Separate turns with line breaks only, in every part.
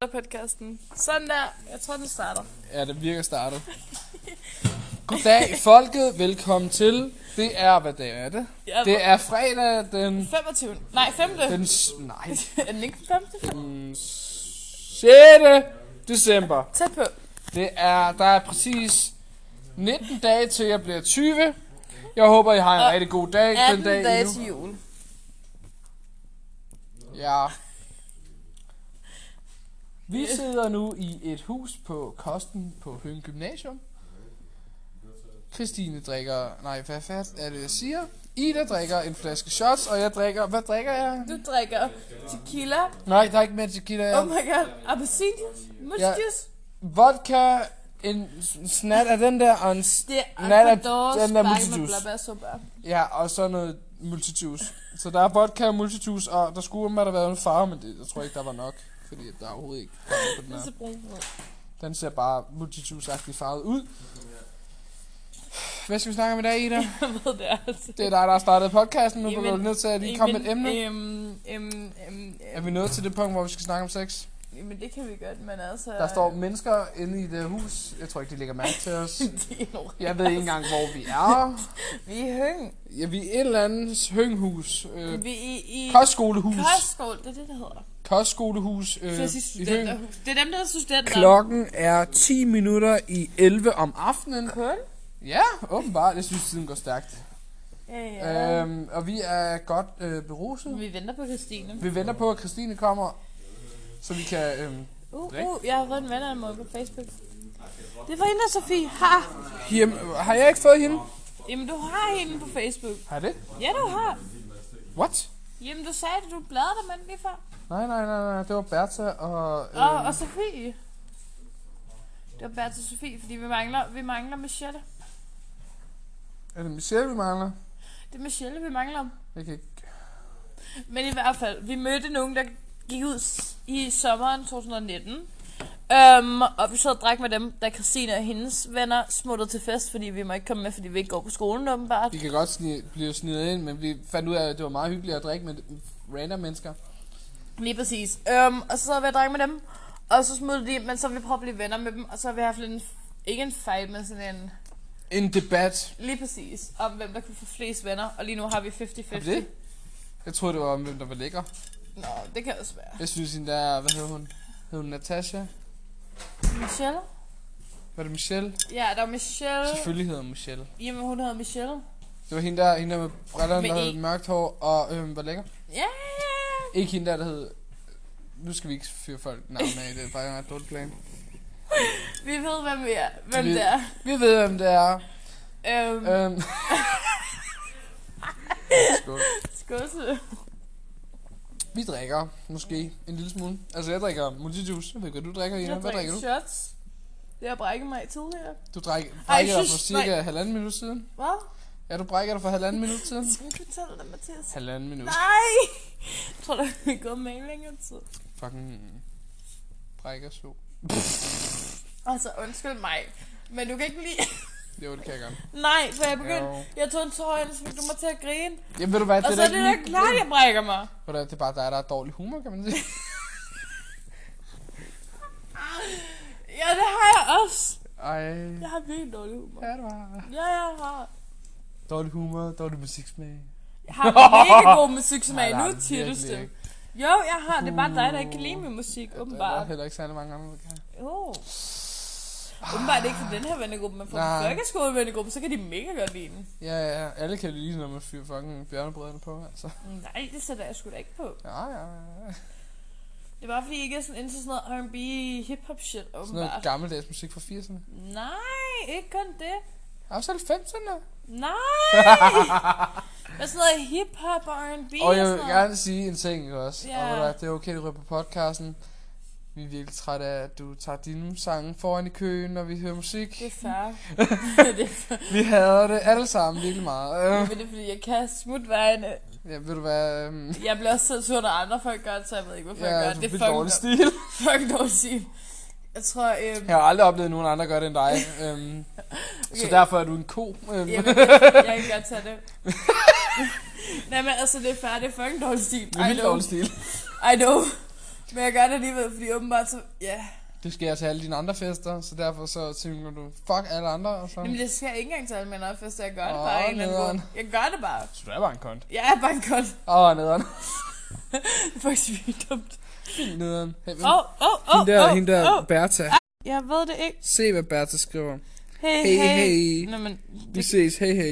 starter podcasten. Sådan der. Jeg tror, den starter.
Ja, det virker startet. Goddag, folket. Velkommen til. Det er, hvad dag er det?
Ja,
Det er fredag den...
25. Nej, 5.
den s- nej,
Er den ikke 5.
den 6. december.
Tæt på.
Det er, der er præcis 19 dage til, jeg bliver 20. Jeg håber, I har en
Og
rigtig god dag den
18
dag
dage
endnu.
til jul.
Ja. Vi sidder nu i et hus på Kosten på Høng Gymnasium. Christine drikker... Nej, hvad fat er det, jeg siger? Ida drikker en flaske shots, og jeg drikker... Hvad drikker jeg?
Du drikker tequila.
Nej, der er ikke mere tequila.
Oh
Jeg.
my god. Appelsinjuice. Musjuice.
Vodka, en s- snat af den der, og en... s-
Det er
Nej, der-
Aquadors
den der
sparket med
multijuice.
blåbærsuppe.
Ja, og så noget multijuice. Så der er vodka og multijuice, og der skulle have der været en farve, men det, jeg tror ikke, der var nok. Fordi der er overhovedet ikke farve på den
Det er
her.
så brun ud.
Den ser bare multitusagtig farvet ud. Hvad skal vi snakke om i dag, Ida?
Jeg ved det altså.
Det er dig, der har startet podcasten. Nu bliver
Jamen,
du nødt til at lige komme med et emne.
Øhm, øhm, øhm,
Er vi nået til det punkt, hvor vi skal snakke om sex?
Jamen, det kan vi godt, men altså...
Der står mennesker inde i det hus. Jeg tror ikke, de lægger mærke til os.
De er jo-
Jeg ved ikke engang, hvor vi er.
Vi er i Høng.
Ja, vi er et eller andet hønghus. Øh,
Vi er i... i-
kostskolehus.
Kostskål, det er det, det hedder.
Kostskolehus øh,
Så jeg siger
i Høng.
studenterhus. Det er dem, der er studenter.
Klokken er 10 minutter i 11 om aftenen.
Kun?
Ja, åbenbart. Jeg synes, tiden går stærkt.
Ja, ja.
Øhm, og vi er godt øh, beruset.
Vi venter på Christine.
Vi venter på, at Christine kommer, så vi kan... Øhm,
Uh,
Drik.
uh, jeg har fået en venner på Facebook. Det var hende, Sofie. Ha!
hjem, har jeg ikke fået hende?
Jamen, du har hende på Facebook.
Har jeg det?
Ja, du har.
What?
Jamen, du sagde, at du bladrede dig med den lige før.
Nej, nej, nej, nej. Det var Bertha og... Øh,
Og, og Sofie. Det var bare til Sofie, fordi vi mangler, vi mangler Michelle.
Er det Michelle, vi mangler?
Det er Michelle, vi mangler.
Jeg kan ikke...
Men i hvert fald, vi mødte nogen, der gik ud s- i sommeren 2019. Um, og vi sad og drak med dem, da Christine og hendes venner smuttede til fest, fordi vi må ikke komme med, fordi vi ikke går på skolen åbenbart.
Vi kan godt sni- blive snidet ind, men vi fandt ud af, at det var meget hyggeligt at drikke med random mennesker.
Lige præcis. Um, og så sad vi og drak med dem, og så smuttede de, men så har vi prøvet at blive venner med dem, og så har vi haft lidt en, ikke en fight, men sådan en,
En debat.
lige præcis, om hvem der kunne få flest venner, og lige nu har vi 50-50.
Er det? Jeg troede, det var om, hvem der var lækker.
Nå, det kan også være.
Jeg synes, hende der... Hvad hedder hun? Hed hun Natasha?
Michelle?
Var det Michelle?
Ja, der var Michelle.
Selvfølgelig hedder hun Michelle.
Jamen, hun hedder Michelle.
Det var hende der, hende der med brillerne,
Med
der
E.
havde mørkt hår og øhm, var lækker.
Ja, yeah.
Ikke hende der, der hed... Nu skal vi ikke fyre folk navn af, det er bare en ret dårlig plan.
vi ved, hvem vi er. Hvem
Vi-
det er.
Vi ved, hvem det er.
Øhm, øh.
Øhm. Skål.
Skåse.
Vi drikker, måske, en lille smule. Altså, jeg drikker multijuice. Jeg ved godt, du drikker, Ina.
øh, Jeg
Hvad drikker
drikker
du?
shots. Det har brækket mig i tidligere.
Du drikker, brækker dig
synes-
for cirka halvanden minut siden.
Hvad?
Ja, du brækker dig for halvanden minut siden.
Skal du fortælle det, Mathias?
Halvanden minut.
Nej! Jeg tror, der er gået med i længere tid.
Fucking brækker så.
Altså, undskyld mig. Men du kan ikke lide...
Jo, det kan jeg godt.
Nej, for jeg begyndte...
Jo.
Jeg tog en tår ind, så fik du mig til at grine.
Jamen, ved du hvad,
Og
det
så
er
er
da
det
ikke
da
mit
klart,
problem.
jeg brækker mig.
Ved du hvad, Det er bare dig, der har dårlig humor, kan man sige.
Ja, det har jeg også.
Ej.
Jeg har virkelig dårlig humor.
Ja, du har.
Ja, jeg har.
Dårlig humor, dårlig musiksmag.
Jeg har mega god musiksmag. Nu
Nej, nej,
er du
virkelig
stille.
ikke.
Jo, jeg har. Det er bare dig, der ikke kan lide min musik,
Der er
åbenbart.
heller ikke særlig mange andre, der kan.
Oh. Åbenbart ikke for den her vennegruppe, men for
Nej.
folkeskole vennegruppe, så kan de mega godt lide den.
Ja, ja, ja. Alle kan lide, når man fyrer fucking bjørnebrødrene på, altså.
Nej, det sætter jeg sgu da ikke på.
Ja, ja, ja.
Det er bare fordi, I ikke er sådan ind til sådan noget R&B, hip-hop shit,
Sådan noget
åbenbart.
gammeldags musik fra 80'erne.
Nej, ikke kun det.
Også 90'erne.
Nej! Men sådan noget hip-hop og R&B
Og
og
jeg
sådan
vil
noget.
gerne sige en ting ikke også.
Ja.
Og ved du hvad, det er okay, du ryger på podcasten. Vi er virkelig trætte af, at du tager dine sange foran i køen, når vi hører musik.
Det er fair. det er fair.
Vi hader det alle sammen virkelig meget. Øh,
Men det er fordi, jeg kan smutte vejene.
Ja, ved du hvad? øhm,
Jeg bliver også selv sur, når andre folk gør det, så jeg ved ikke, hvorfor
Ja,
jeg gør
du
det. Det er fucking
vildt dårlig
dårlig stil.
stil.
Fucking dårlig stil. Jeg tror, øhm,
Jeg har aldrig oplevet, at nogen andre gør det end dig. øhm, Så
Okay.
derfor er du en ko. Øhm,
Jamen, jeg, jeg kan godt tage det. Nej, men altså, det er færdigt. Det er fucking dårlig stil.
Det er
I
vildt
know.
dårlig stil.
I know. Men jeg gør det alligevel, fordi åbenbart så... Ja.
Det sker til alle dine andre fester, så derfor så tænker du, fuck alle andre, og så...
Jamen, det sker ikke engang til alle mine fester. Jeg gør det
Åh,
bare af en eller anden
nederen.
måde. Jeg gør det bare.
Så du er bare en kont.
Jeg er bare en kold.
Åh, oh, nederen.
Det er faktisk vildt dumt.
Fint nederen. Hey,
Åh, åh, åh,
hende der,
åh,
hende der
åh. Ah.
Bertha.
Jeg ved det ikke.
Se, hvad Bertha skriver.
Hey,
Hey,
hey.
hey.
Nå, men
Vi
det,
ses, hey, hey.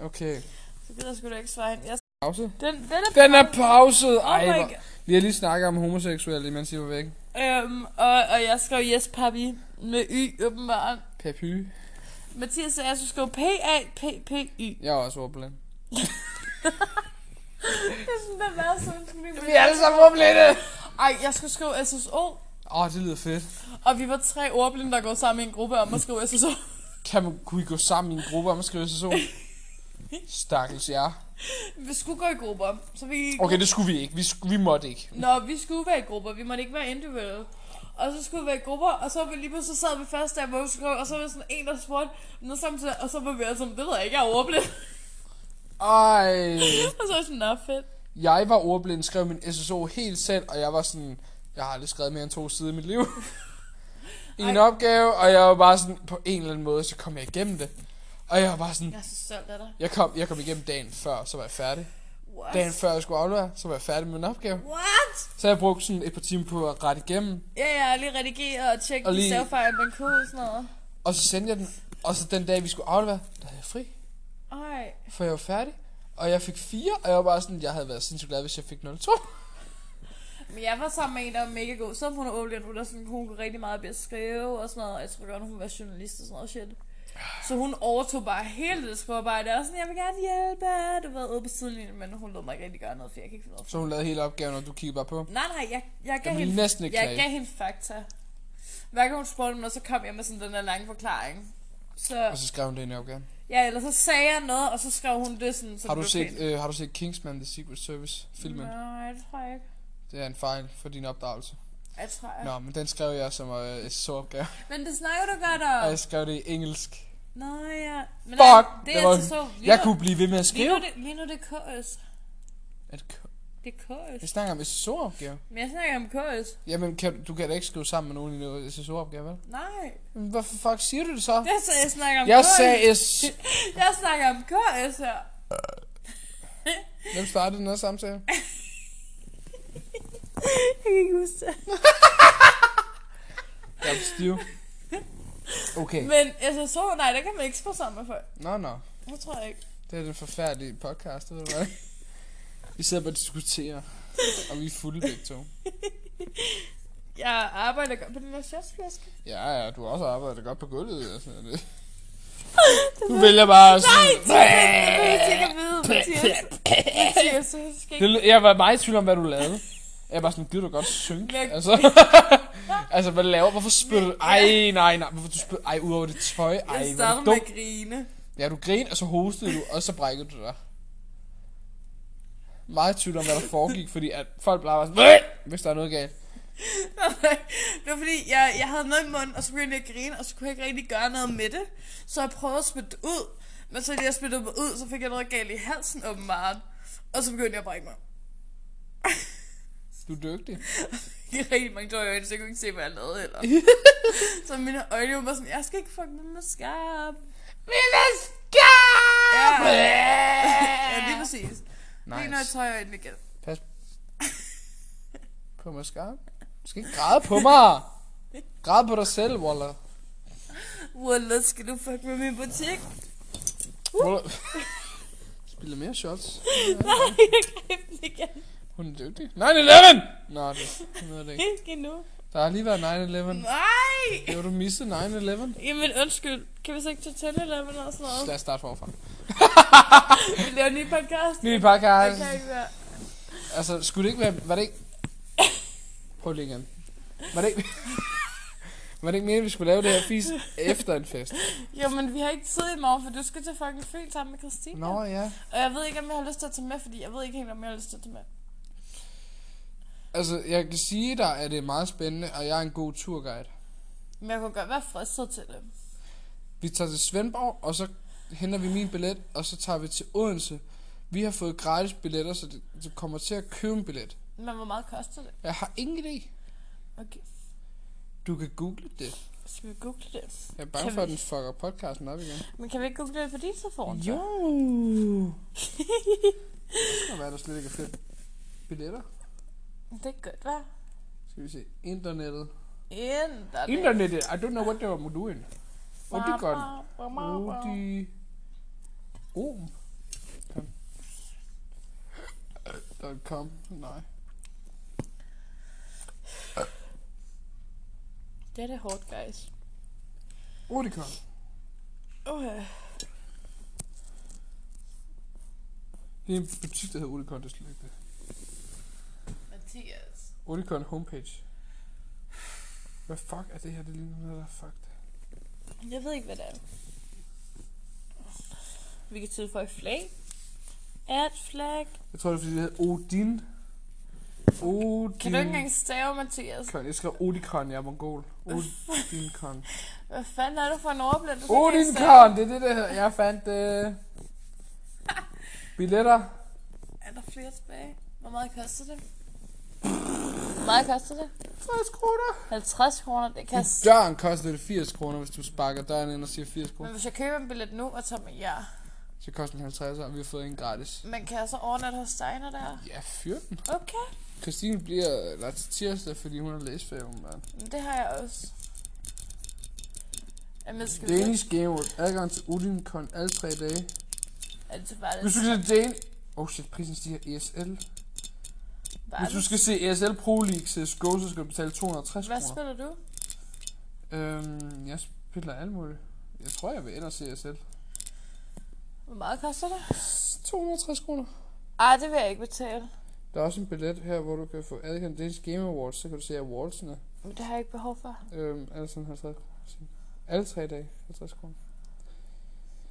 Okay.
så gider jeg sgu da ikke svare hende. Jeg,
Pause.
den, den er...
Den er pauset.
Oh
Ej,
my
hvor-
god.
Vi har lige snakket om homoseksuelle, imens I var væk.
Øhm, og, og jeg skrev yes, papi. Med y, åbenbart.
Papy.
Mathias sagde, at jeg skulle skrive P-A-P-P-Y.
Jeg er også ordblind.
Det er sådan, der var sådan en
Vi er alle sammen ordblinde.
Ej, jeg skulle skrive SSO.
Åh, oh, det lyder fedt.
Og vi var tre ordblinde, der går sammen i en gruppe om at skrive SSO.
Kan man, kunne I gå sammen i en gruppe om at skrive sæson? Stakkels jer.
Vi skulle gå i grupper, så vi...
Okay, det skulle vi ikke. Vi, sk- vi måtte ikke.
Nå, vi skulle være i grupper, vi måtte ikke være individuelle. Og så skulle vi være i grupper, og så var vi lige pludselig så sad vi først der, hvor vi skulle, og så var der sådan en, der spurgte noget samtidig, og så var vi altså, det ved jeg ikke, jeg er ordblind.
Ej.
og så var jeg sådan, nå fedt.
Jeg var ordblind, skrev min SSO helt selv, og jeg var sådan... Jeg har aldrig skrevet mere end to sider i mit liv. I en
Ej.
opgave, og jeg var bare sådan... På en eller anden måde, så kom jeg igennem det. Og jeg var bare sådan...
Jeg er så stolt af dig.
Jeg kom, jeg kom igennem dagen før, så var jeg færdig.
What?
Dagen før jeg skulle aflevere, så var jeg færdig med min opgave.
What?
Så jeg brugte sådan et par timer på at rette igennem.
Ja, jeg har lige redigeret og tjekket
Og
lige...
lige-
stavfejl, man kunne og sådan noget.
Og så sendte jeg den. Og så den dag, vi skulle aflevere, der havde jeg fri.
Ej.
For jeg var færdig. Og jeg fik fire, og jeg var bare sådan, jeg havde været sindssygt glad, hvis jeg fik 0-2.
Men jeg var sammen med en, der var mega god. Så hun er ordblind, hun, er sådan, hun kunne rigtig meget ved at skrive og sådan noget. Og jeg tror godt, hun var journalist og sådan noget shit. Så hun overtog bare hele det sporarbejde. Og sådan, jeg vil gerne hjælpe. Du ved, ude på sidelinjen, men hun lod mig ikke rigtig gøre noget, for jeg kan ikke finde noget.
Så hun lavede hele opgaven, og du kiggede bare på.
Nej, nej, jeg, jeg gav
Jeg ville
hende,
næsten ikke
jeg
klage.
gav hende fakta. Hver gang hun spurgte mig, noget, så kom jeg med sådan den der lange forklaring. Så,
Og så skrev hun det ind i opgaven.
ja, eller så sagde jeg noget, og så skrev hun det sådan, så
Har du,
det blev
set,
pænt.
øh, har du set Kingsman The Secret Service filmen?
Nej, det tror jeg ikke.
Det er en fejl for din opdragelse.
Jeg tror jeg.
Nå, men den skrev jeg som øh, SSO-opgave.
Men det snakker du godt
Og
om.
jeg skrev det i engelsk.
Nå ja. Men
Fuck!
altså, Det
Det
er
var-
altså så... Lige
Jeg
nu-
kunne blive ved med at
Lige nu,
skrive.
det, lige nu det er KS.
Er det k-
Det er
Jeg
KS.
snakker om SSO-opgave.
Men jeg snakker om KS.
Jamen, kan, du kan da ikke skrive sammen med nogen i noget SSO-opgave, vel?
Nej.
Men Hvorfor fuck siger du det så?
Jeg sagde, jeg snakker om
Jeg
KS.
sagde S...
Jeg snakker om KS her.
Hvem startede den her samtale?
Jeg kan ikke huske det.
Jeg er stiv. Okay.
Men SSO, nej, der kan man ikke spørge sammen med folk.
Nå, nå.
Det tror jeg ikke.
Det er den forfærdelige podcast, ved du hvad? Vi sidder bare og diskuterer, og vi er fulde begge to.
Jeg arbejder godt på den her shotsflaske.
Ja, ja, du har også arbejdet godt på gulvet og sådan noget. Du vælger bare
Nej,
sådan...
det er ikke at vide, Mathias. Mathias, så skal ikke...
Det, lød- jeg var meget i tvivl om, hvad du lavede. Jeg var sådan, gider du godt synge?
Men-
Altså, altså hvad laver Hvorfor spiller du? Ej, nej, nej. Hvorfor du spiller? Ej, udover dit tøj. Ej,
Jeg
hvor er
starter
du
med
dum.
at grine.
Ja, du grinede, og så hostede du, og så brækkede du dig. Meget i tvivl om, hvad der foregik, fordi at folk bare var sådan, "Væh!" hvis der er noget galt.
det var fordi, jeg, jeg havde noget i munden, og så begyndte jeg at grine, og så kunne jeg ikke rigtig gøre noget med det. Så jeg prøvede at spytte det ud, men så da jeg spyttede mig ud, så fik jeg noget galt i halsen åbenbart. Og så begyndte jeg at brække mig.
Du er dygtig.
Jeg havde rigtig mange tårer i øjnene, så jeg kunne ikke se, hvad jeg lavede heller. så mine øjne var bare sådan, jeg skal ikke fuck med mig skarp.
Vil jeg skabe?
Ja, lige præcis. Nice. Det er når jeg
Nice.
tøjer øjnene igen.
Pas på mig skarp. Du skal ikke græde på mig. Græd på dig selv, Walla.
Wallah, skal du fuck med min butik?
Walla. Spiller mere shots.
Nej, jeg glemte igen.
Hun er dygtig. 9-11! Nå, det, hun ved det ikke.
Ikke endnu.
Der har lige været 9-11.
Nej!
Jo, du mistede 9-11.
Jamen undskyld, kan vi så ikke tage 10 eller noget sådan noget?
Lad os starte forfra.
Vi laver en ny podcast.
Ny
Det
podcast.
kan ikke være.
Altså, skulle det ikke være... Var det ikke... Prøv lige igen. Var det ikke... Var det ikke meningen, at vi skulle lave det her fis efter en fest?
Jo, men vi har ikke tid i morgen, for du skal til fucking Fyn sammen med Christine.
Nå ja.
Og jeg ved ikke, om jeg har lyst til at tage med, fordi jeg ved ikke helt, om jeg har lyst til at tage med.
Altså, jeg kan sige dig, at det er meget spændende, og jeg er en god turguide.
Men jeg kunne godt være fristet til det.
Vi tager til Svendborg, og så henter vi min billet, og så tager vi til Odense. Vi har fået gratis billetter, så det- du kommer til at købe en billet.
Men hvor meget koster det?
Jeg har ingen idé.
Okay,
Du kan google det.
skal vi google det?
Jeg er bange
Kan
for, at
vi-
den fucker podcasten op igen.
Men kan vi ikke google det på din telefon? så?
Jo. Det kan være, der slet ikke er flere billetter.
Det er godt, hva'?
Skal vi se. Internettet.
Internet.
Internettet. I don't know what they were doing. Oh, det er godt. Rudi. Om. Kom. Dot com. Nej.
Det er det hårdt, guys.
Rudicon.
Okay.
Det er en butik, der hedder Rudicon, det er slet ikke det.
Mathias.
Rudicon homepage. Hvad fuck er det her? Det ligner noget, der er fucked.
Jeg ved ikke, hvad det er. Vi kan tilføje flag. At flag.
Jeg tror, det er, fordi det hedder Odin. Odin.
Kan du ikke engang stave, Mathias?
Kon. Jeg skrev Odikon, jeg er mongol. Odinkon.
Hvad fanden er du for en overblik? Du kan ikke engang stave.
Odinkon, det er det, der hedder. Jeg fandt øh, billetter.
Er der flere tilbage? Hvor meget koster det? Hvor meget koster det?
60 kroner.
50 kroner, det kan...
I døren koster det 80 kroner, hvis du sparker døren ind og siger 80
Men
kroner.
hvis jeg køber en billet nu og tager med jer, Mm.
Så koster den 50, og vi har fået en gratis.
men kan jeg så overnatte hos dig, når der er?
Ja, fyr den.
Okay.
Christine bliver eller til tirsdag, fordi hun har læsfag, mand.
Men det har jeg også. Jamen, skal vi...
Danish Game World. Adgang til Odinkon alle tre dage.
Er det så bare
Hvis du
det?
skal se Dan... Oh shit, prisen stiger ESL.
Bare
Hvis du skal se ESL Pro League CSGO, så skal du betale 260
Hvad
kroner.
spiller du?
Øhm, jeg spiller alt muligt. Jeg tror, jeg vil ellers se ESL.
Hvor meget koster det?
260 kroner.
Ej, det vil jeg ikke betale.
Der er også en billet her, hvor du kan få adgang til Danish Game Awards, så kan du se awardsene.
Men det har jeg ikke behov for.
Øhm, alle sådan 50 kroner. Alle tre dage, 50 kroner.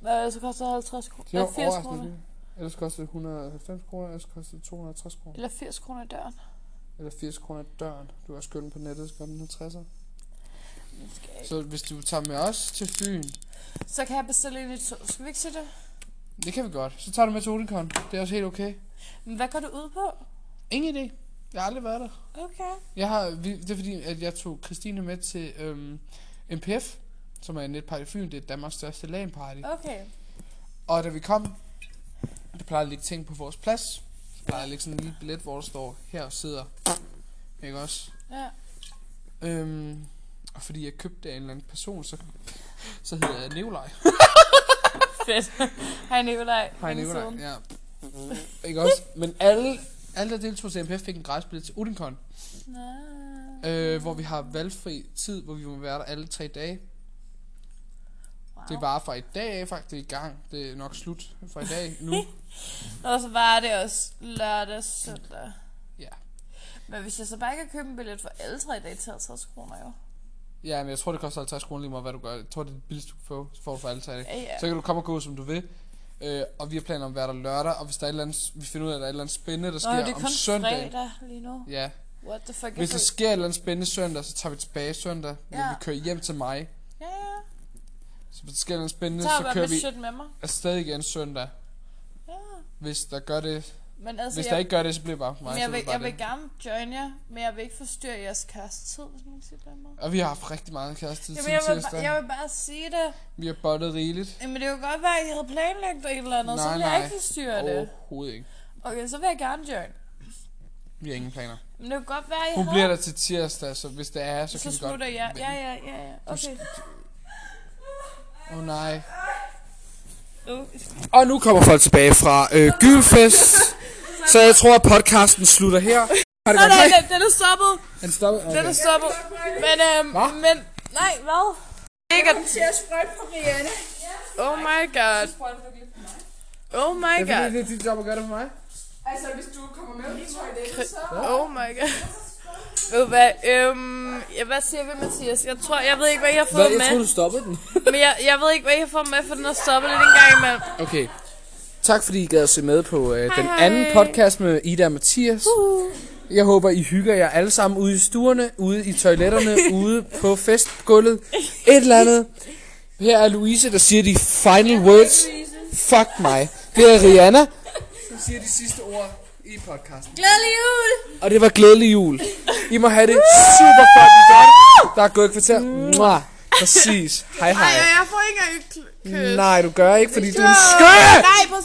Hvad så koster det 50 kroner?
Det er
Eller 80
overraskende
kroner?
dyrt. Ellers koster det 190 kroner, ellers koster det 260 kroner.
Eller 80 kroner i døren?
Eller 80 kroner i døren. Du har skylden på nettet, så gør den 50'er.
Det skal jeg ikke.
Så hvis du tager med os til Fyn,
Så kan jeg bestille en i to. Skal vi ikke se det?
det kan vi godt. Så tager du med til Olikon. Det er også helt okay.
Men hvad går du ud på?
Ingen idé. Jeg har aldrig været der.
Okay.
Jeg har, vi- det er fordi, at jeg tog Christine med til øhm, MPF, som er en netparty i Fyn. Det er Danmarks største LAN-party.
Okay.
Og da vi kom, der plejer at ligge ting på vores plads. Der plejer at ligge sådan en lille billet, hvor der står, her sidder, ikke også?
Ja.
Øhm, og fordi jeg købte af en eller anden person, så, så hedder jeg Nikolaj.
Fedt. Hej Nikolaj.
Hej
Længe
Nikolaj. Mm-hmm.
siden.
Ja. Ikke også? Men alle, alle der deltog til MPF fik en gratis billet til Udinkon,
Nå.
øh, hvor vi har valgfri tid, hvor vi må være der alle tre dage. Det var fra i dag af, faktisk. Det er i gang. Det er nok slut fra i dag nu.
Og så var det også lørdag, søndag.
Ja.
Men hvis jeg så bare kan købe en billet for alle tre dage til 50 kroner, jo.
Ja, men jeg tror, det koster 50 kroner lige meget, hvad du gør. Jeg tror, det er det billigste, du kan få, så får du for alle tre dage.
Ja, ja.
Så kan du komme og gå, som du vil. Øh, og vi har planer om at være der lørdag, og hvis der er et eller andet, vi finder ud af, at der er et eller andet spændende, der sker
Nå, det er
om
kun
søndag.
fredag lige nu.
Ja.
What the fuck?
Hvis der
jeg
sker et eller andet spændende søndag, så tager vi tilbage søndag, men
Ja.
vi kører hjem til mig.
føler- Ja, ja.
Så hvis der sker et eller andet spændende,
Tager
så
bare
kører
mit
vi
shit med mig.
afsted igen søndag.
Ja.
Hvis der gør det,
Men altså,
hvis
jeg,
der ikke gør det, så bliver det bare mig.
men
så
jeg,
bliver
vil,
det bare
jeg vil
det.
gerne join jer, men jeg vil ikke forstyrre jeres kærestetid, hvis man kan sige det på den måde.
Og vi har haft rigtig meget kæreste
Jamen,
siden
jeg vil, bare-
tirsdag.
jeg vil bare sige det.
Vi har bottet rigeligt.
Jamen, det kunne godt være, at I havde planlagt et eller andet, så
Nej,
vil jeg
nej.
ikke forstyrre det.
Overhovedet ikke.
Okay, så vil jeg gerne join.
Vi har ingen planer.
Men det kunne godt være, at I
Hun
havde...
bliver der til tirsdag, så hvis det er, så,
så,
kan vi godt...
smutter jeg.
vende.
Ja, ja, ja, ja. Okay.
Åh oh, nej.
Uh,
Og nu kommer folk tilbage fra øh, Gylfest. så jeg tror, at podcasten slutter her. Har det
Nej,
godt?
nej,
Hej.
den, den er stoppet.
Han stopper.
Den
Okay.
er stoppet. Men, øhm,
Hva?
men... Nej, hvad? Ikke at...
til at sprøjte på Rihanna.
Oh my god. Oh my
Det er
god.
fordi, det er dit job at gøre det for mig.
Altså, hvis du kommer med på toilettet, så...
Oh my god. Ved du hvad? Øhm, ja, hvad siger vi, Mathias? Jeg tror, jeg ved ikke, hvad I har fået med.
du stoppede den.
Men jeg, jeg ved ikke, hvad I har fået med, for den har stoppet lidt en gang imellem.
Okay. Tak fordi I gad at se med på øh, den
Hej,
anden
hej.
podcast med Ida og Mathias.
Uh.
Jeg håber, I hygger jer alle sammen ude i stuerne, ude i toiletterne, ude på festgulvet. Et eller andet. Her er Louise, der siger de final words. Fuck mig. Det er Rihanna, som siger de sidste ord i i podcasten.
Glædelig jul!
Og det var glædelig jul. I må have det super fucking godt. Der er gået et kvarter. Mwah. Præcis. Hej
Nej,
hej.
jeg får ikke engang et kl- kys.
Nej, du gør ikke, fordi du er en skøn!
Nej, prøv at se.